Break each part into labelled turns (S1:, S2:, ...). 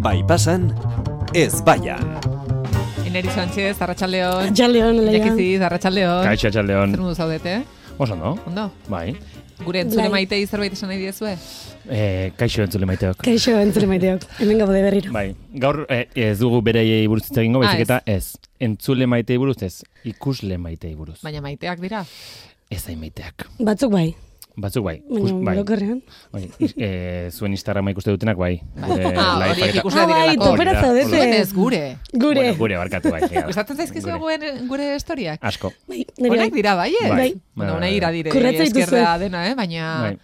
S1: Bai pasan, ez baian.
S2: Eneri Sánchez, Arratxaldeon.
S3: Atxaldeon, Leia.
S2: Jakiziz, Arratxaldeon.
S4: Kaixo atxaldeon.
S2: Zer modu zaudete?
S4: Oso, no?
S2: Ondo?
S4: Bai.
S2: Gure entzule
S3: Bai.
S2: maitei zerbait esan nahi diezue?
S4: E, kaixo entzule maiteok.
S3: Kaixo entzule maiteok, hemen gaude berriro.
S4: Bai, gaur eh, ez dugu bereiei buruz hitz egingo, baizik
S2: Ah,
S4: eta ez. Entzule maitei buruz ez, ikusle maitei buruz.
S2: Baina maiteak dira.
S4: Ez hain maiteak.
S3: Batzuk bai,
S4: Batzuk bai.
S3: baina
S4: bai.
S3: orokorrean.
S4: Bai, is- eh, zuen Instagrama ikuste dutenak bai. Gure
S2: Ah,
S4: live
S2: horiek
S4: eta-
S2: ikusle
S3: Ah, bai,
S2: direlako.
S3: topera
S4: Hori da,
S3: zaudete.
S4: hori
S2: Zuen ez gure.
S3: Gure,
S4: Bueno, gure barkatu bai. ja.
S2: Gustatzen eh? zaizkizue
S4: Gure.
S2: gure, gure historiak?
S4: Asko.
S3: bai, nire
S2: Honak dira, bai, eh?
S3: Bai.
S2: Bueno, una ira dire,
S3: Kurratza dituzue.
S2: eskerra dena, eh? Baina...
S4: Bai.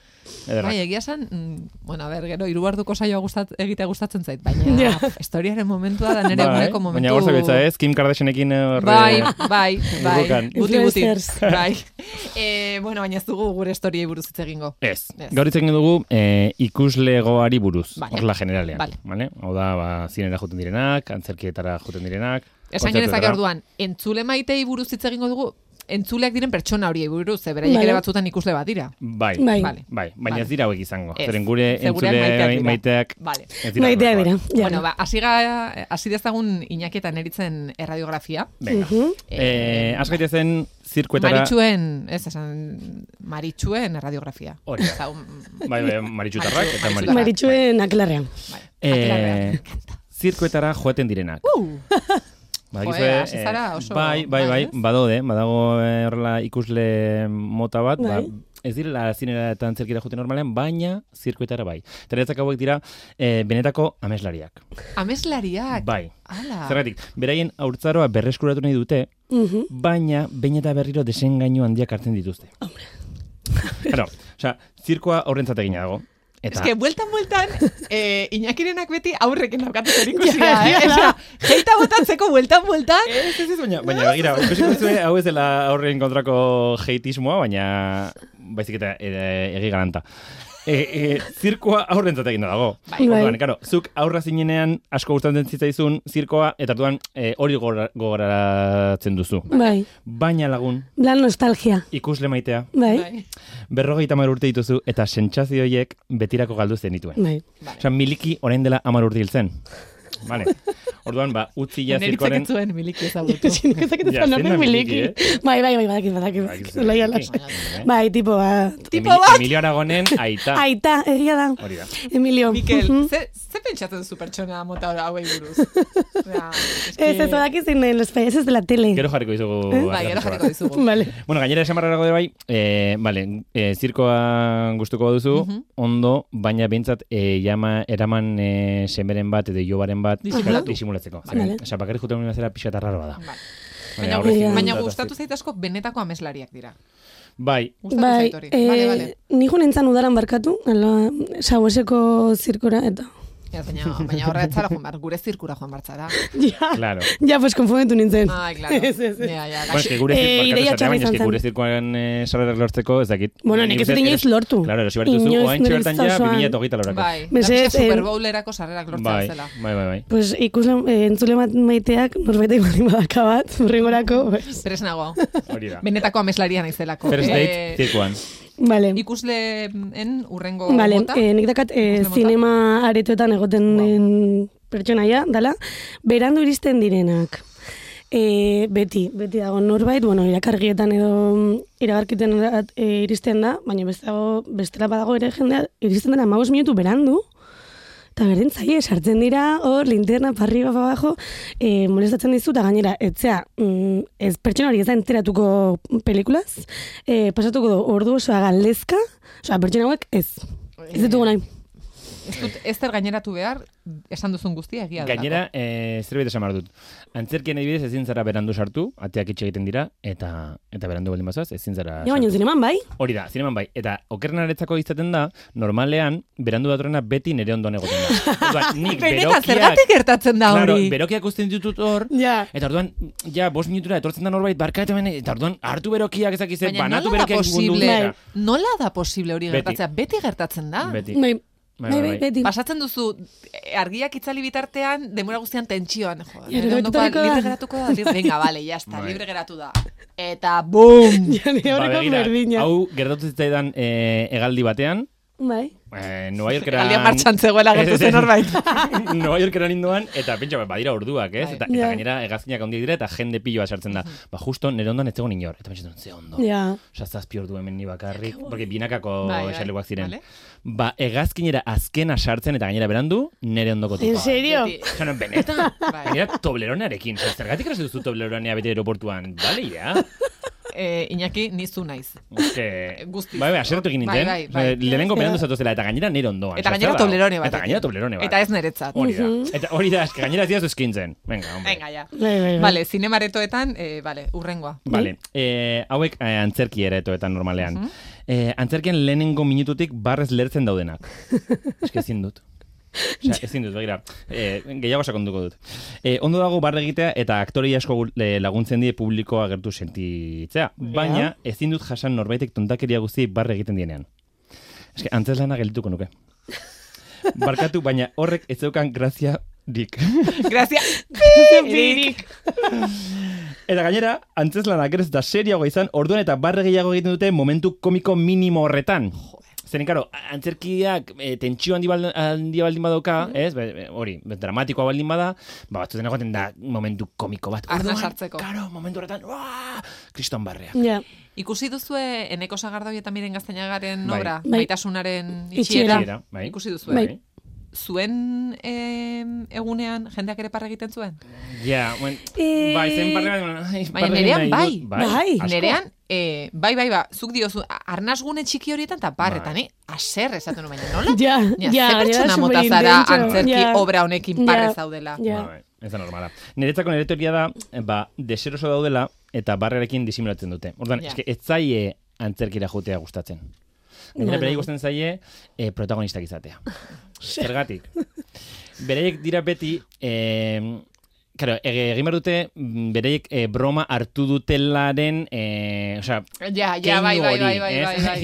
S4: Ederrak.
S2: Bai, egia esan, mm, bueno, a ber, gero, irubarduko saioa gustat, egitea gustatzen zait, baina
S3: Ja.
S2: historiaren momentua da nere
S4: Bai,
S2: uneko momentu...
S4: Baina gaur zabiltza ez, Kim Kardashianekin eh, horre-
S2: Bai, bai, bai.
S4: Burrukan.
S2: Guti, guti.
S3: Influencers.
S2: Bai. E, bueno, baina ez dugu gure historiei buruz hitz egingo.
S4: Ez.
S2: Ez.
S4: Gaur hitz egin dugu eh, ikuslegoari buruz,
S2: Vale.
S4: horla generalean.
S2: Vale.
S4: Hau da, ba, zinera joten direnak, antzerkietara joten direnak.
S2: Esan
S4: kontzertuetara.
S2: genezake orduan, entzule maitei buruz hitz egingo dugu, entzuleak diren pertsona horiei buruz, ze beraiek
S3: Vale.
S2: ere batzutan ikusle bat dira.
S4: Bai,
S3: Bai.
S2: Vale.
S4: bai, baina
S2: Vale.
S4: ez dira hauek izango.
S2: Ez.
S4: Zeren gure
S2: Ze gureak
S4: entzule
S2: maiteak dira.
S4: maiteak
S2: Vale.
S4: ez dira
S3: maiteak dira.
S4: horrelakoak.
S3: Ja.
S2: Bueno, ba, hasi ga- hasi dezagun Iñakietan eritzen erradiografia.
S4: Venga. Eh, has gaite zen zirkuetara...
S2: Maritxuen, ez esan, Maritxuen erradiografia.
S4: Hori da.
S2: Zau, mm,
S4: Bai, bai, maritxutarrak eta
S2: Maritxu-
S4: maritxutarrak.
S3: Maritxuen aklarrean.
S2: bai, aklarrea.
S4: Eh, zirkuetara joaten direnak.
S2: Uh,
S4: Badakizue,
S2: Joe, hasi
S4: eh,
S2: zara oso-
S4: bai, bai, bai,
S2: bai, ez?
S4: badaude, badago eh, horrela ikusle mota bat,
S3: Bai.
S4: ba, ez direla zinera eta antzerkira juten normalean, baina zirkuetara bai. Teretzak hauek dira eh, benetako ameslariak.
S2: ameslariak.
S4: Bai.
S2: Ala.
S4: Zergatik, beraien haurtzaroa berreskuratu nahi dute,
S2: Mhm.
S4: baina behin eta berriro desengainu handiak hartzen dituzte. Claro, osea, zirkoa horrentzat egina dago.
S2: Ez
S4: Eta
S2: que, bueltan, bueltan, eh, Iñakirenak beti aurrekin daukate zer ikusia,
S3: Ja, ja,
S2: eh? Osea, jeita botatzeko, bueltan, bueltan.
S4: Eh, Ez, ez, ez, baina, baina, begira, ikusiko zuen, hau ez dela aurren kontrako heitismoa, baina baizik eta e, egi garanta. E, e, zirkoa aurren egin da dago.
S2: Bai.
S4: Orduan, claro, zuk aurra zinenean asko gustatzen zitzaizun zirkoa, eta orduan e, hori gora- gogoratzen duzu.
S3: Bai,
S4: Baina lagun,
S3: lan nostalgia.
S4: ikusle maitea,
S3: Bai,
S4: berrogeita hamar urte dituzu, eta sentsazio horiek betirako galdu zenituen.
S3: bai.
S2: Vale.
S4: Osa, miliki orain dela hamar urte hil zen. Vale. Orduan, ba, utzi ja
S2: Neritzak
S4: zirkoaren...
S2: ez zuen miliki ezagutu.
S3: Ikusi nekezak
S4: Ja,
S3: eta
S4: zein da
S3: nomen
S4: miliki, eh?
S3: miliki. Bai, bai, bai, badakit, badakit.
S4: Bai,
S3: badakit. Laia las. Bai, tipo bat.
S2: Tipo
S4: Emili-
S2: bat!
S4: Emilio Aragonen aita.
S3: Aita, egia da.
S4: Hori da.
S3: Emilio.
S2: Mikel,
S3: Mhm.
S2: ze, ze pentsatzen zu pertsona mota hori hauei buruz? Osea, eske-
S3: Ez ez
S4: Bai,
S3: badakit zein den, los payasos de la tele.
S4: Gero jarriko dizugu.
S3: Eh?
S2: Bai,
S4: ateratxo
S2: gero
S4: bat.
S2: jarriko dizugu.
S3: Vale.
S4: Bueno, gainera esan barrarago de bai, eh, vale, eh, zirkoa gustuko baduzu,
S3: Mhm.
S4: ondo, baina bintzat eh, jama, eraman eh, semeren bat edo jobaren bat
S2: Disimulatu.
S4: disimulatzeko.
S3: Vale.
S4: Vale. Osa, bakarrik juten unibazera pixka eta raroa da.
S2: Bai.
S4: Baina
S2: Baina,
S4: horrekin
S3: Ja.
S2: baina
S4: datoz-
S2: gustatu zait asko benetako ameslariak dira.
S4: Bai,
S2: Gustatu
S3: Bai,
S2: zait hori.
S3: eh,
S2: Bale, bale.
S3: ni jo nintzen udaran barkatu, ala, saboseko zirkora, eta...
S2: Ez, baina, baina horra etzara joan behar, gure zirkura joan bartzara.
S3: Ja,
S4: claro.
S3: ja, pues konfumentu nintzen.
S2: Ai, claro.
S3: Ez, ez, ez.
S2: Ja, ja,
S4: Bueno, es Ba, que gure,
S3: Eh,
S4: zir- barkatu
S3: ideia
S4: esatea,
S3: txarra
S4: baina es
S3: izan
S4: que
S3: zen.
S4: gure zirkoan eh, sarrerak lortzeko ez dakit.
S3: Bueno,
S4: Nik
S3: nik ez
S4: uste
S3: dut inoiz
S4: eros-
S3: lortu.
S4: Claro, erosi behar dituzu,
S3: Inoiz
S4: oain
S3: nire
S4: bertan ja,
S3: bizitza osoan.
S4: 2008 lorako.
S2: Bai, da
S3: Mesedez,
S2: pixka
S3: eh,
S2: Super Bowlerako sarrerak lortzen
S4: bai,
S2: zela.
S4: bai, bai, bai.
S3: Pues ikusle, eh, entzule mat, maiteak norbaitek bali badaka bat, urrengorako, pues.
S2: Zeres nago.
S4: Hori da.
S2: Benetako ameslaria naizelako.
S4: First
S2: Eh,
S4: date, zirkoan.
S3: Vale.
S2: ikusleen urrengo
S3: Vale,
S2: mota.
S3: eh, nik dakat eh,
S2: Ikusle mota?
S3: zinema aretoetan egoten
S2: Wow.
S3: den pertsonaia, dala, berandu iristen direnak. E, beti, beti dago norbait, bueno, irakargietan edo mm, iragarkiten erat- eh, iristen da, baina bestago, bestela badago ere jendea, iristen dena amabos minutu berandu, eta berdin zaie, sartzen dira, hor, linterna, parri, bapa, bajo, e, molestatzen dizu, eta gainera, etzea, mm, ez pertsona hori ez da enteratuko pelikulaz, e, pasatuko du, ordu osoa galdezka, osea, pertsona hauek ez, ez ditugu nahi.
S2: Ez dut ez zer gaineratu behar, esan duzun guztia egia delako.
S4: Gainera, eh, zerbait esan behar dut. Antzerkian adibidez ezin zara berandu sartu, ateak itxe egiten dira, eta eta berandu baldin bazoaz, ezin zara
S3: Ja, baina
S4: sartu.
S3: zineman bai,
S4: Hori da, zineman bai. Eta okerrenaretzako izaten da, normalean, berandu datorrena beti nire ondoan egoten da. Orduan, nik
S2: Benetan,
S4: berokiak...
S2: zergatik gertatzen da
S4: Claro,
S2: hori?
S4: berokiak uzten ditut hor,
S3: Ja.
S4: eta orduan, ja, bost minutura etortzen da norbait barkatu hemen, eta orduan, hartu berokiak ezakize,
S2: Baina
S4: banatu
S2: nola da
S4: berokiak mundu
S2: posible?
S4: guztira.
S2: Bai, Nola da posible hori
S4: Beti.
S2: gertatzea? Beti gertatzen da.
S4: Beti.
S3: bai,
S4: Bai,
S3: bai,
S4: bai,
S3: bai,
S4: bai.
S3: beti.
S2: Pasatzen duzu eh, argiak itzali bitartean, demora guztian tentsioan. Jo,
S3: Ja,
S2: nire ondokoa
S3: etorriko da.
S2: libre geratuko da. Libre, venga, vale, ya está,
S4: Bai.
S2: libre geratu da. Eta bum!
S3: Ja, nire
S4: Ba,
S3: horreko
S4: begira,
S3: berdina.
S4: Hau gertatu zitzaidan eh, hegaldi batean,
S3: Bai.
S4: Eh, Nueva Yorkera...
S2: Aldia martxan zegoela gertu zen norbait.
S4: Nueva Yorkera ninduan, eta pentsa, ba, badira orduak, ez?
S2: Bai.
S4: Eta,
S3: Ja.
S4: eta gainera hegazkinak handiak dira eta jende piloa sartzen da. Ba, justo nire ondoan ez zegoen inor. Eta pentsatzen, ze ondo.
S3: Ja.
S4: Osa, zazpi ordu hemen ni bakarrik, porque binakako
S2: Bai, bai,
S4: esalekuak ziren.
S2: vale.
S4: Ba, hegazkinera azkena sartzen eta gainera berandu, nire ondoko
S3: En
S4: tipa.
S3: serio?
S2: Beti-
S4: Zona, benetan,
S2: Bai.
S4: gainera tobleronarekin. Osa, zergatik erastu duzu tobleronea beti aeroportuan? Bale, ja.
S2: Eh, Iñaki, nizu naiz.
S4: Eske,
S2: Guztiz.
S4: Bai, bai, aserretu egin nintzen.
S2: Bai, bai, bai.
S4: Eh, Lehenengo berandu zatozela, eta gainera nire ondoan.
S2: Eta
S4: Osea,
S2: gainera
S4: zer dago?
S2: toblerone bat.
S4: Eta gainera toblerone bat.
S2: Eta ez niretzat.
S4: Hori da. Eta hori da, eske gainera ez diazu eskintzen. Venga, hombre.
S2: Venga, ja.
S3: Bai, bai, bai.
S2: Vale, zinemaretoetan, eh, vale, urrengoa.
S4: Vale, eh, hauek eh, antzerki ere etoetan normalean. Eh, antzerkian lehenengo minututik barrez lertzen daudenak. Eske ezin dut. Osea, ezin dut, begira. Eh, gehiago sakonduko dut. Eh, ondo dago barre egitea eta aktore asko gu- le- laguntzen die publikoa gertu sentitzea. Baina, ezin dut jasan norbaitek tontakeria guztiei barre egiten dienean. Eske, antzezlana geldituko nuke. Barkatu, baina horrek ez zeukan grazia dik.
S2: Grazia.
S3: Eririk.
S4: Eta gainera, antzeslanak ere ez da seriago izan, orduan eta barre gehiago egiten dute momentu komiko minimo horretan. Zeren, karo, antzerkiak e, tentsio handi, bal, handi baldin badauka, ez, be- be- hori, be- dramatikoa baldin bada, ba, batzuten egoten da momentu komiko bat.
S2: Arna
S4: Orduan,
S2: sartzeko.
S4: Karo, momentu horretan, uaa, kriston barrea.
S2: Mm.
S3: Ja.
S2: Ikusi duzue Eneko Sagardoi eta Miren Gaztainagaren
S4: Bai.
S2: obra,
S3: Bai.
S2: maitasunaren
S3: Itxiera.
S2: itxiera.
S4: Itxiera, bai.
S2: Ikusi duzue.
S3: Bai.
S2: Zuen em, egunean jendeak ere parra egiten zuen?
S4: Ja, buen,
S3: Eh,
S4: bai, zen barre bat, ai,
S2: Baina
S4: barre
S2: nerean
S4: nahi
S2: bai.
S4: dut,
S3: Bai.
S4: asko.
S2: Nerean, eh, bai, bai, ba, zuk diozu, a- arnasgune txiki horietan eta parretan, eh? Aser esaten nuen, baina nola?
S3: Ja,
S2: Ja,
S3: ja,
S2: ze pertsona
S3: ja,
S2: mota zara
S3: superintentso.
S2: antzerki
S3: Ja.
S2: obra honekin
S3: Ja.
S2: parre zaudela.
S3: Ja.
S4: Bai, bai, ez da normala. Niretzako nire teoria da, eh, ba, deseroso daudela eta barrerekin disimulatzen dute. Orduan,
S2: Ja.
S4: eske, ez zaie antzerkira jotea gustatzen. Gainera,
S3: No.
S4: beraiek gustatzen zaie eh, protagonistak izatea. Zergatik. Beraiek dira beti... Eh, Claro, e- egin behar dute, mm, beraiek eh, broma hartu dutelaren, eh, osea,
S2: Ja, ja, bai, bai, bai, bai, bai, bai. bai.
S3: Ja,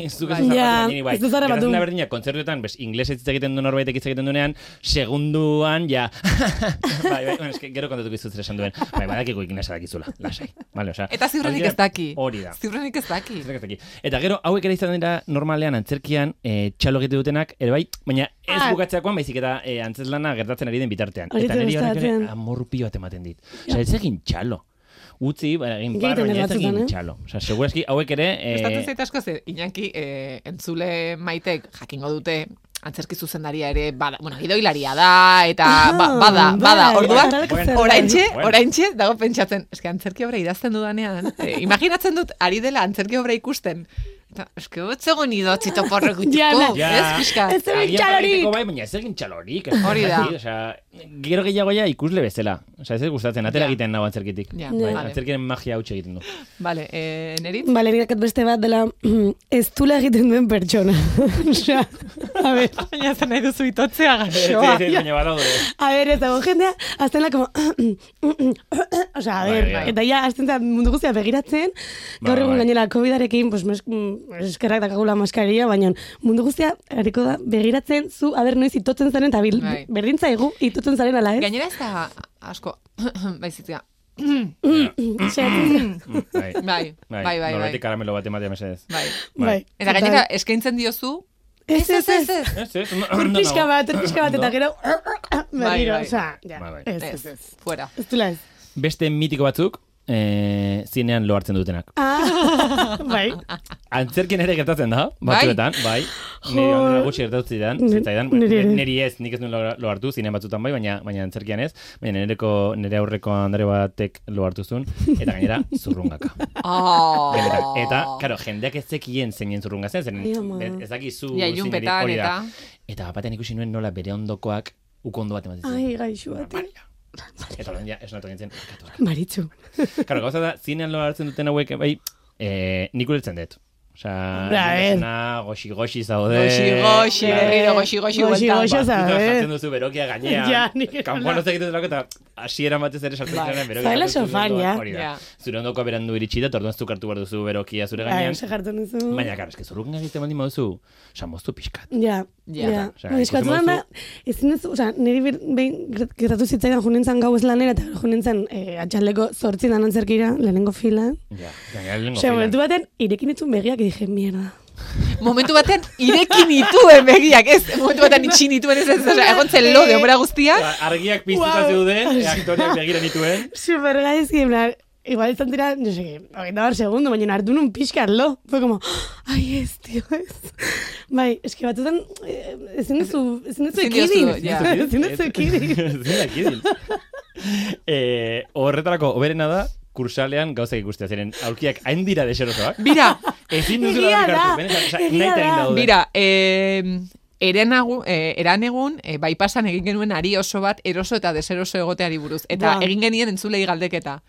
S4: ez
S3: ez dut zara batu.
S4: berdina, kontzertuetan, bez, ingles ez egiten du norbaitek hitz egiten duenean, segunduan, ja, bai, bai, bueno, eske, gero kontatuko izuz esan duen, bai, badakigu inglesa dakizula, lasai, vale, osea.
S2: Eta ziurrenik
S4: hori
S2: ez daki.
S4: Hori da.
S2: Ziurrenik ez daki.
S4: Ziurrenik ez daki. Eta gero, hauek ere izan dira normalean antzerkian e, txalo egite dutenak, ere bai, baina ez
S3: Ah.
S4: bukatzeakoan, baizik eta e, antzeslana gertatzen ari den bitartean.
S3: Hori
S4: Eta niri horrek ere
S3: gustatzen.
S4: amorpio bat ematen dit. Osea, ez egin txalo. Utzi, ba, egin
S3: Egiten
S4: barro,
S3: dut
S4: baina ez
S3: batzutan,
S4: egin
S3: eh?
S4: txalo. Osea, segurazki, hauek ere... eh,
S2: Estatzen zait asko ze, Iñaki, eh, entzule maitek jakingo dute antzerki zuzendaria ere, bada, bueno, gidoilaria da, eta
S3: Ah,
S2: ba- bada,
S3: bai,
S2: bada, orduan,
S3: horrelako
S4: Bueno,
S3: zerbait.
S2: oraintxe,
S4: Bueno.
S2: oraintxe, dago pentsatzen, eske antzerki obra idazten dudanean, eh, imaginatzen dut, ari dela antzerki obra ikusten, eta eske botzegon idotzito porrek
S3: Ja,
S2: utxuko,
S3: na.
S4: Ja.
S2: ez pixka?
S3: Ez egin
S4: Agian
S3: txalorik!
S4: baliteko Bai, baina ez egin txalorik. ez
S2: Hori da.
S4: dakit, osea, gero gehiago ja ikusle bezala. Osea, ez ez gustatzen, atera
S2: Ja.
S4: egiten nago antzerkitik.
S2: Ja,
S4: bai,
S2: vale.
S4: antzerkiaren magia hautsi egiten du.
S2: Vale, eh, nerit?
S3: Bale, nik dakat beste bat dela ez zula egiten duen pertsona. Osea, a ber,
S2: Baina zen nahi duzu itotzea gaxoa.
S4: Ez, ez, baina badaude.
S3: a ber, ez dago jendea, azten la como... Osea, a ber,
S4: Bai, ja.
S3: eta ja, azten da mundu guztia begiratzen,
S4: Bai,
S3: gaur egun
S4: bai.
S3: gainela COVID-arekin, pues, mes, mm, eskerrak dakagula maskaria, baina mundu guztia, hariko da, begiratzen zu, a ber, noiz itotzen zaren, eta bil-
S2: Bai.
S3: berdin zaigu itotzen zaren ala ez.
S2: Gainera ez da asko, Bai, baizitzea,
S3: Osea,
S4: Mm, Bai,
S2: bai, bai, bai, bai,
S4: Norbaitek karamelo bat ematea mesedez.
S2: bai.
S3: bai.
S2: Eta gainera, eskaintzen diozu,
S3: Ez, ez, ez.
S4: Ez, ez,
S3: Hor
S4: ondo
S3: pixka
S4: nago.
S3: bat, hor pixka bat,
S4: Ondo.
S3: eta gero... Berriro,
S2: bai.
S3: osea, ja,
S4: Bai, bai.
S3: ez, ez,
S2: ez,
S3: ez.
S2: fuera.
S3: Ez dula ez.
S4: Beste mitiko batzuk, eh, zinean lo hartzen dutenak.
S3: Ah, bai.
S4: Antzerkin ere gertatzen da,
S2: Bai.
S4: batzuetan, bai. Nire
S3: Jo.
S4: ondela gutxi gertatzen zidan,
S3: Ni-
S4: zitzaidan,
S3: niri ere.
S4: niri ez, nik ez nuen lo, lo hartu, zinean batzutan bai, baina, baina antzerkian ez, baina nereko, nire aurreko andre batek lo hartu zuen, eta gainera zurrungaka.
S2: Oh.
S4: Benetan. Eta, karo, jendeak ez zekien zeinen zurrunga zen, zeren
S3: Ai, ama.
S4: ez dakizu
S2: Ja,
S4: zeineri-
S2: ilunpetan
S4: hori da.
S2: eta-
S4: Eta batean ikusi nuen nola bere ondokoak ukondo bat ematen
S3: Ai,
S4: zuen.
S3: gaixo bate.
S4: Bai. Eta orduan ja, esnatu nintzen, "Barkatu, barkatu."
S3: Maritxu.
S4: Karo, gauza da, zinean lo hartzen duten hauek, bai, eh, nik ulertzen dut. Osa,
S3: Hombre, a ver.
S4: goxi-goxi zaude.
S2: Goxi, goxi,
S4: Claro.
S2: berriro, goxi, goxi,
S3: Goxi,
S2: bueltan.
S3: goxi,
S2: Ba,
S3: Goxoza,
S4: Batzutan
S3: eh?
S4: jartzen duzu berokia gainean.
S3: Ja, nik ere
S4: Kanpoan ez egiten delako eta hasieran batez ere sartzen
S2: Bai.
S4: zaren berokia.
S3: Zaila
S4: sartzen duzu
S3: sofan,
S4: ondoan,
S3: ja.
S4: hori da.
S2: Ja.
S4: Zure ondoko berandu iritsi da, eta orduan zuk hartu behar duzu berokia
S3: Ai,
S4: zure gainean.
S3: Bai,
S4: Bai.
S3: ose jartzen duzu.
S4: Baina, karo, eske zurrungan egiten baldin baduzu, samoztu pixkat.
S3: Ja,
S2: Ja.
S3: ja.
S4: Osea,
S3: Baina
S4: ikusten
S3: eskatuan da,
S4: baduzu-
S3: ba, ezin ez, oza, niri bir- behin gert- gertatu zitzaidan junentzan gau ez lanera, eta junentzan eh, atxaldeko zortzin anantzerkira, lehenengo fila.
S4: Ja, gainera lehenengo
S3: Osea,
S4: filan.
S3: momentu baten, irekin etzun begiak, dije, mierda.
S2: Momentu batean ireki nituen begiak, ez, momentu batean itxi nituen ez ez, osea, egon zen lo de obra guztia,
S4: Argiak piztuta
S3: Wow.
S4: zeuden, e, aktoreak begira nituen.
S3: Super gaizki, en plan, igual izan dira, no sé, hogeita bar segundo, baina hartu nun pixka lo. Fue como, ai ez, tío, ez. Bai, eski batzutan, eh, ezin duzu, ezin duzu
S2: Ezin diozu,
S3: ekidin.
S2: ja.
S3: Ezin
S4: Bai.
S3: duzu ekidin.
S4: Ezin da ekidin. Eh, horretarako, oberena da, kursalean gauzak ikustea ziren. Aulkiak hain dira deserosoak.
S2: bira,
S4: Ezin duzula
S3: Egia
S4: barkatu,
S3: da,
S4: benetan, osea,
S3: egia
S4: nahi eta egin
S3: da.
S4: daude.
S2: bira, eh, Erenagu, eh, eranegun, eh, bypassan egin genuen ari oso bat eroso eta deseroso egoteari buruz. Eta
S3: Buah.
S2: egin genien entzulei galdeketa.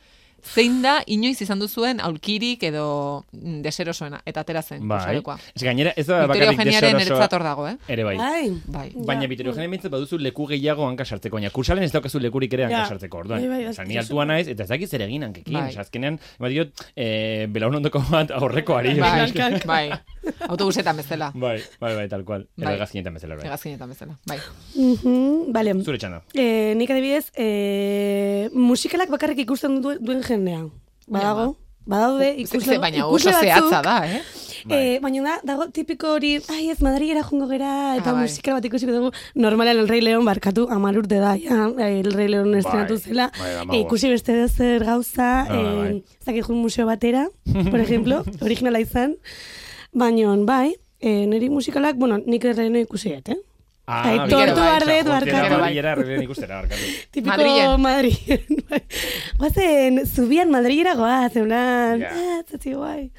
S2: Zein da inoiz izan duzuen aulkirik edo mm, deserosoena. Eta atera zen,
S4: Bai.
S2: kursalekoa.
S4: Ez gainera, ez da
S2: Victoria
S4: bakarrik
S2: Eugeniaren
S4: deserosoa.
S2: eretzat hor dago, eh?
S4: Ere bai.
S3: Bai.
S2: Bai.
S4: Baina
S3: Ja.
S4: bitero jenen bintzen baduzu leku gehiago hanka sartzeko, baina kursalen ez daukazu lekurik ere hanka
S3: Ja.
S4: sartzeko, orduan.
S3: Bai, bai,
S4: Osa, ni
S3: ez-
S4: altua naiz, eta ez dakit zer egin hankekin,
S2: Bai.
S4: bai. azkenean, bat diot, eh, belaunondoko bat aurrekoari.
S2: Bai,
S4: Bai.
S2: bai. Autobusetan bezala.
S4: bai, bai, bai, tal cual. Bai.
S2: Bai.
S4: Ergazkinetan bezala, bai.
S2: Hegazkinetan bezala. Bai.
S3: Mhm, Bale,
S4: Zure txanda.
S3: eh, nik adibidez, eh, musikalak bakarrik ikusten du, duen jendea.
S2: Bai,
S3: Badago, badaude, ikusle,
S2: Ze- Baina oso
S3: ikusle batzuk,
S2: zehatza da, eh?
S4: Bai.
S3: Eh, baina da, dago tipiko hori, ai ez Madrilera jungo gera, eta
S2: Ah, bai.
S3: musikal bat ikusiko dugu, normalen El Rey León barkatu, amar urte da, ja, El Rey León estrenatu zela,
S4: bai, damagoa.
S3: e, ikusi beste zer gauza,
S4: Bai, bai, bai.
S3: eh, ez dakit jun museo batera, por ejemplo, originala izan, baina bai, eh, niri musikalak, bueno, nik El Rey León ikusi dut, eh? Aitor
S2: Gero bai,
S3: Duardet, barkatu.
S4: Madrilera, errebilen ikustera, barkatu.
S3: Tipiko
S2: Madrilen.
S3: Madrilen, bai. Guazen, zubian Madrilera goaz, en plan,
S4: Ja.
S3: ah, zati guai.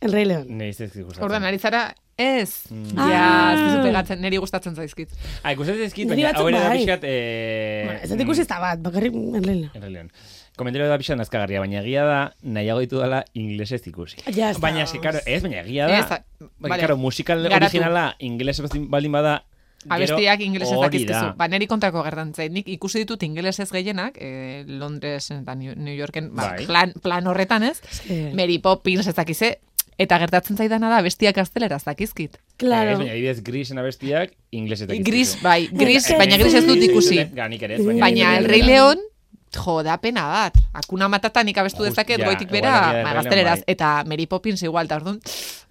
S3: El Rey León.
S4: Nei, ez ikustatzen.
S2: Orduan, ari zara, ez.
S4: Mm.
S2: Ja,
S3: Ah.
S2: ez duzu pegatzen, niri gustatzen zaizkit.
S4: Ah, ikustatzen ezkit,
S3: Niri
S4: baina
S3: batzuk
S4: hau ere da
S3: bai.
S4: pixkat... Eh, mm,
S3: Bueno, ez dut ikusi ez da bat, bakarrik El Rey León.
S4: Errelion. Komentario da pixan azkagarria, baina egia da, nahiago ditu dela inglesez ikusi.
S3: Ja, ez da,
S4: baina, ze, karo, ez, baina egia da,
S2: Ez da,
S4: baina,
S2: vale.
S4: karo, musikal
S2: Garatu.
S4: originala inglesez bazin- baldin bada, gero
S2: Abestiak ingelesez
S4: hori
S2: dakizkizu.
S4: da.
S2: Ba, niri kontrako gertan zait. Nik ikusi ditut ingelesez gehienak, eh, Londres eta New New Yorken, ba,
S4: Bai.
S2: plan, plan horretan ez,
S3: Eske-
S2: Mary Poppins ez dakize, eta gertatzen zaidana da bestiak gaztelera ez dakizkit.
S4: Baina,
S3: Claro.
S4: ez, Eh, baina, adibidez, grisen abestiak inglesez dakizkizu.
S2: Gris, bai, gris,
S4: Eta
S2: baina gris ez dut ikusi.
S4: Ga, nik ere ez, baina...
S2: Baina El
S4: nik
S2: Rey
S4: ere ez.
S2: León, jo, da pena bat. Akuna matata nik abestu
S4: Just-
S2: dezaket
S4: ja,
S2: goitik
S4: igual
S2: bera,
S4: egia da
S2: ba,
S4: El Rey León,
S2: gazteleraz.
S4: bai.
S2: Eta Mary Poppins igual, eta orduan,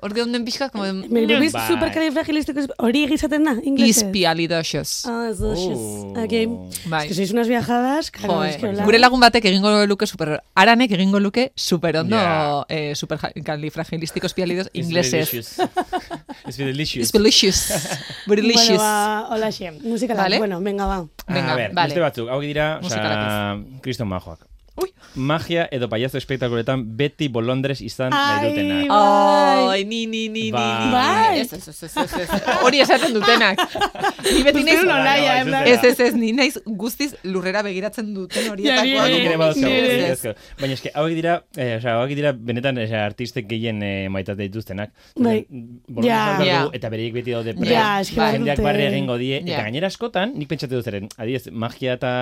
S2: hor geunden pixka, como,
S3: Mary Poppins
S4: Bai.
S3: supercalifragilísticos hori egizaten da, inglesez.
S2: izpialidosos.
S3: Ah, ez dut, xez.
S4: Oh.
S3: Ok.
S2: Bai.
S3: Es que sois unas viajadas, claro,
S2: Jo, eh.
S3: es que hola.
S2: Gure lagun batek egingo luke super, aranek egingo luke super ondo
S4: Ja.
S2: eh, super
S4: It's
S2: inglesez.
S4: delicious. It's delicious.
S2: Spelicious.
S3: Bueno,
S2: Brilicious.
S3: ba, hola xe, musikalak.
S2: Vale.
S3: Bueno, venga, ba.
S2: Venga,
S4: a ber,
S2: vale.
S4: beste batzuk, hau dira, osea,
S2: Musikalak
S4: kriston majoak.
S2: Ui.
S4: Magia edo paiazo espektakuletan beti bolondres izan nahi
S3: Ai,
S4: dutenak.
S2: Ai, ni, ni, ni, ni,
S4: Bai.
S2: ni.
S3: Bai.
S2: Ez, ez, ez, ez, ez, ez. Hori esaten dutenak. Ni beti naiz...
S3: Uste dut olaia,
S4: Bai,
S3: en
S4: bai,
S3: plan.
S2: Ez,
S4: zuzera.
S2: ez, ez, ni naiz guztiz lurrera begiratzen duten
S3: Ja,
S4: Hauek ere
S3: nire,
S2: horietakoa.
S4: badauzkagu,
S3: nire.
S4: hauek ere badauzkagu. Baina eske hauek dira, eh, osea, hauek dira benetan eh, artistek gehien eh, maitate dituztenak. mm,
S3: Bai.
S4: Bolondres
S3: Ja.
S4: daukagu,
S2: Ja.
S4: Eta bereik beti daude pre.
S3: Ja, eske
S2: Bai.
S4: Jendeak
S3: badute.
S4: barre egingo die,
S2: Ja.
S4: eta gainera askotan, nik pentsatu dut zeren, adiez, magia eta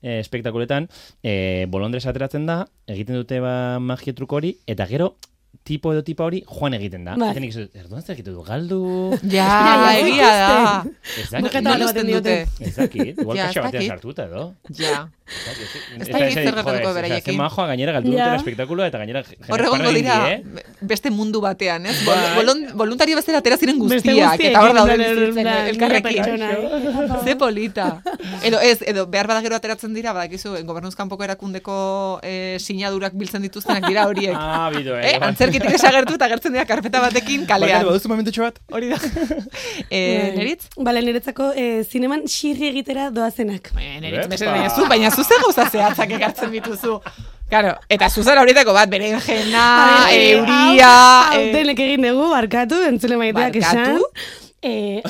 S4: eh, espektakuletan, eh, bolondres ateratzen da, egiten dute ba magia truko hori, eta gero, tipo edo tipa hori joan egiten da.
S3: Bai.
S4: Eta nik esan dut, erduan zer egiten du, galdu,
S2: Ja,
S3: Ja, ja,
S2: egia da.
S4: ez
S2: Nola
S3: Buketa bat
S4: dakit,
S2: uzten
S3: ematen diote.
S2: dute?
S4: ez dakit, igual
S2: Ja, ez
S4: kaxa batean
S2: dakit.
S4: sartuta edo.
S2: Ja.
S4: Ez
S2: dakit zer gertatuko beraiekin.
S4: majoa gainera galdu dutela
S3: Ja.
S4: espektakuloa eta gainera jendeak
S2: Hor egongo
S4: barre egin
S2: dira
S4: die, eh?
S2: be- beste mundu batean, ez?
S4: Bai.
S2: Bol- bolon- Voluntario bezala atera ziren
S3: Beste
S2: guztiak,
S3: guztiekin,
S2: eta hor daude
S3: en plan,
S2: bizitzen
S3: en plan,
S4: ¿eh?
S2: elkarrekin.
S3: nire pertsona.
S2: Ze polita. Edo ez, edo behar bada gero ateratzen dira, badakizu, eh, gobernuzkanpoko erakundeko eh, sinadurak biltzen dituztenak dira horiek.
S4: Ah, bido, eh.
S2: Eh, antzerkitik desagertu eta agertzen dira karpeta batekin kalean.
S4: momentutxo bat?
S2: Hori da. Eh,
S3: Bai.
S2: neritz?
S3: Bale, niretzako eh, zineman xirri egitera doazenak.
S2: Eh, Neritz,
S4: Epa.
S2: mesedez, baina zu, baina zu ze gauza zehatzak ekartzen dituzu. Claro, eta zu zara horietako bat, berenjena,
S3: Ai,
S2: Ah, euria...
S3: Ba, hau- hau
S2: eh,
S3: Denek egin dugu, barkatu, entzule maiteak esan.
S2: Barkatu?
S3: Eh,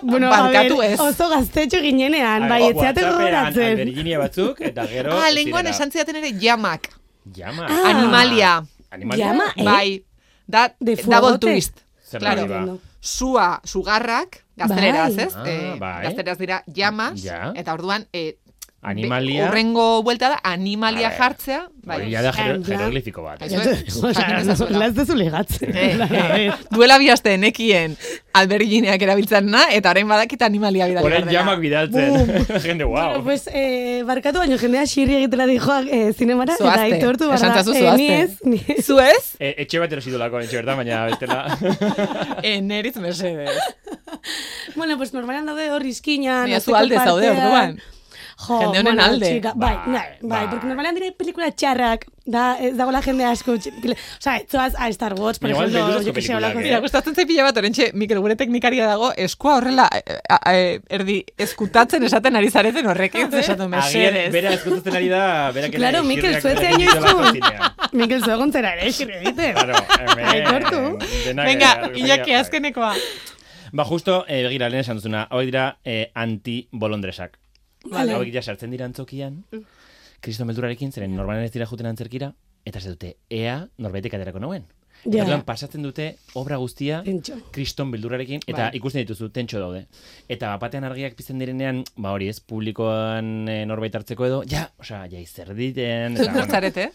S3: bueno,
S2: Barkatu
S3: a ber,
S2: ez.
S3: Oso gaztetxo ginenean, bai, etzeate gogoratzen.
S4: Virginia batzuk,
S3: eh,
S4: eta gero...
S2: Ah, lenguan
S4: zirela.
S2: esan zidaten ere jamak,
S4: Llama.
S3: Ah.
S2: animalia.
S4: Animalia.
S3: Llama. Eh?
S2: Bai, da,
S3: De
S2: double
S3: fuegote.
S2: twist.
S4: Zer
S2: Claro.
S4: nahi ba?
S2: Sua, sugarrak, gazteleraz,
S3: Bai.
S2: ez?
S4: Ah,
S2: Eh,
S4: bai.
S2: Gazteleraz dira llamas,
S4: Ja.
S2: eta orduan, eh,
S4: Animalia.
S2: Urrengo buelta da, animalia
S4: A ber.
S2: jartzea. Bai.
S4: Hori ja da jero-
S3: En plan-
S4: jeroglifiko bat.
S2: Ez-
S3: Osea, ez duzu- ez duzu legatzen.
S2: Eh,
S3: A
S2: eh,
S3: ver.
S2: duela bi aste nekien albergineak erabiltzen na, eta orain badakit animalia bidali behar
S4: Horren
S2: dela.
S4: jamak bidaltzen. Jende,
S3: Bueno,
S4: wow.
S3: pues, eh, barkatu baino jendea xirri egitela dijoa eh, zinemara, eta
S2: Zoazte.
S3: aitortu behar
S2: Esan
S3: da.
S2: zazu
S3: eh,
S2: zoazte.
S3: ni ez, ni ez.
S2: Zu ez?
S4: E, etxe bat erosi dolako, etxe bertan, baina bestela.
S2: Eh, neritz mesedez.
S3: Bueno, pues normalan daude hor izkinan.
S2: Mira, zu
S3: atzeko
S2: alde zaude
S3: partean.
S2: orduan.
S4: Eh.
S3: Jo,
S2: Jende honen
S3: bueno,
S2: alde.
S3: txika, bai,
S4: Bai,
S3: bai, bai,
S4: bai.
S3: porque normalan dire pelikula txarrak, da, eh, ez dagoela jende asko. Osa, etzoaz a Star Wars, por
S4: Igual
S3: ejemplo,
S4: beldurrezko
S3: yo que sé,
S4: pelikulak,
S3: holako-
S4: eh?
S2: Mira, gustatzen zait pila bat, orentxe, Mikel, gure teknikaria dago, eskua horrela, eh, a- eh, erdi, eskutatzen esaten ari zareten horrekin, esatu mesedez.
S4: Agian, bera eskutatzen ari da, berak ere
S3: Claro, Mikel,
S4: xirriak
S3: zuetzea
S4: egiten
S3: inoiz
S4: dituelako
S3: zu.
S4: zinean.
S3: Mikel Zuegontzera ere, xirri egiten.
S4: Claro, hemen,
S3: Aitortu.
S4: denak-
S2: Venga,
S4: denak-
S2: Iñaki, azkenekoa.
S4: Ba, justo, eh, begira, lehen esan duzuna, hau dira eh, anti-bolondresak.
S3: Vale.
S4: Hauek ja sartzen dira antzokian, kriston beldurarekin, zeren normalen ez dira juten antzerkira, eta ez dute, ea norbaitek aterako nauen.
S3: Ja.
S4: Yeah. pasatzen dute obra guztia
S3: Tentxo.
S4: kriston beldurarekin, eta
S2: Bai.
S4: ikusten dituzu, tentxo daude. Eta batean argiak pizten direnean, ba hori ez, publikoan eh, norbait hartzeko edo, ja, osea, ja izer diten.
S2: Zut nortzarete?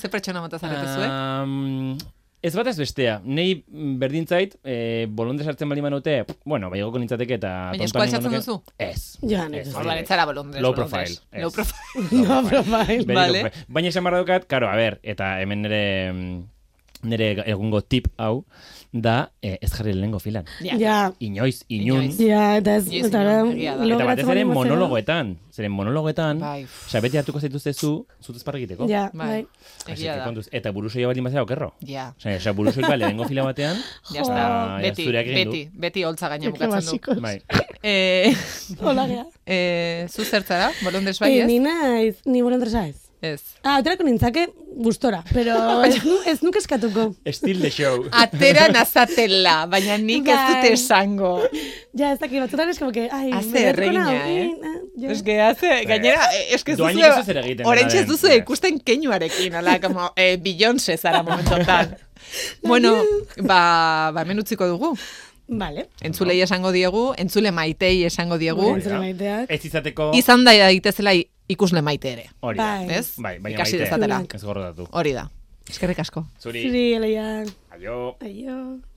S2: Ze pertsona mota zarete
S4: Ah.
S2: zuek?
S4: Um, ez batez bestea. Nei berdintzait, eh, bolondres hartzen bali manote, bueno, bai egoko nintzateke eta...
S2: Baina
S4: tontoa
S2: eskua altxatzen
S4: ningo nuke.
S2: duzu?
S4: Ez.
S3: Ja, ez.
S2: Orduan, ez zara bolondres,
S4: Low
S2: bolondres.
S4: profile. ez.
S2: Low profile.
S4: Low
S3: profile.
S4: Very
S2: Vale.
S4: low profile. Baina esan barra dukat, karo, a ber, eta hemen nire mm, nire egungo tip hau da eh, ez jarri lehengo filan.
S3: Ja,
S4: Inoiz, inun.
S2: Inoiz.
S3: ja, eta ez,
S2: Yes,
S3: eta ara,
S2: no, egia da.
S4: Eta batez
S3: logratzen
S4: ere
S3: baldin bazara-
S4: monologoetan. Zeren monologoetan,
S2: Bai.
S4: osea, beti hartuko zaituztezu, zutez parra egiteko.
S3: Ja,
S2: Bai,
S3: bai.
S4: Así
S2: egia
S4: que
S2: da.
S4: kontuz. Eta burusoia baldin bazera okerro.
S2: Ja.
S4: Osea, osea, burusoik bale, lehengo fila batean,
S2: Ja está.
S4: Ah, ja,
S2: Beti,
S4: zureak egin du.
S2: beti, beti holtza gaina
S3: Ja, que
S2: bukatzen du.
S3: basikoz.
S4: Bai.
S2: Eh,
S3: Hola, gea.
S2: eh, zu zertzara? Bolondres bai ez?
S3: Eh, ni naiz, ni bolondresa ez.
S2: Ez.
S3: Ah, aterako nintzake gustora, pero ez, nu, ez nuke eskatuko.
S4: Still the show.
S2: Atera nazatela, baina nik ez dut
S3: Bai.
S2: esango.
S3: Ja, ez dakit, batzutan es como que, ai,
S2: Haze
S3: bederatuko
S2: erregina,
S3: nau,
S2: eh?
S3: eh, ja.
S2: Ez que hace, gainera, eh, ez que ez
S4: Dohainik ez duzu zer
S2: duzu,
S4: egiten,
S2: orain ez
S4: dena
S2: duzu
S4: den.
S2: ikusten keinuarekin, ala, como, eh, Beyoncé zara momentotan. bueno, ba, ba, hemen utziko dugu.
S3: Vale.
S2: Entzulei esango diegu, entzule maitei esango diegu,
S3: Entzule maiteak.
S4: Ez izateko...
S2: izan da daitezela i- ikusle maite ere.
S4: Hori da.
S3: Bai.
S2: Ez?
S4: Bai, baina
S2: Ikasi
S4: maite.
S2: dezatela.
S4: Ez gorrotatu.
S2: Hori da. Eskerrik asko.
S4: Zuri.
S3: Zuri, Elia.
S4: Aio.
S3: Aio.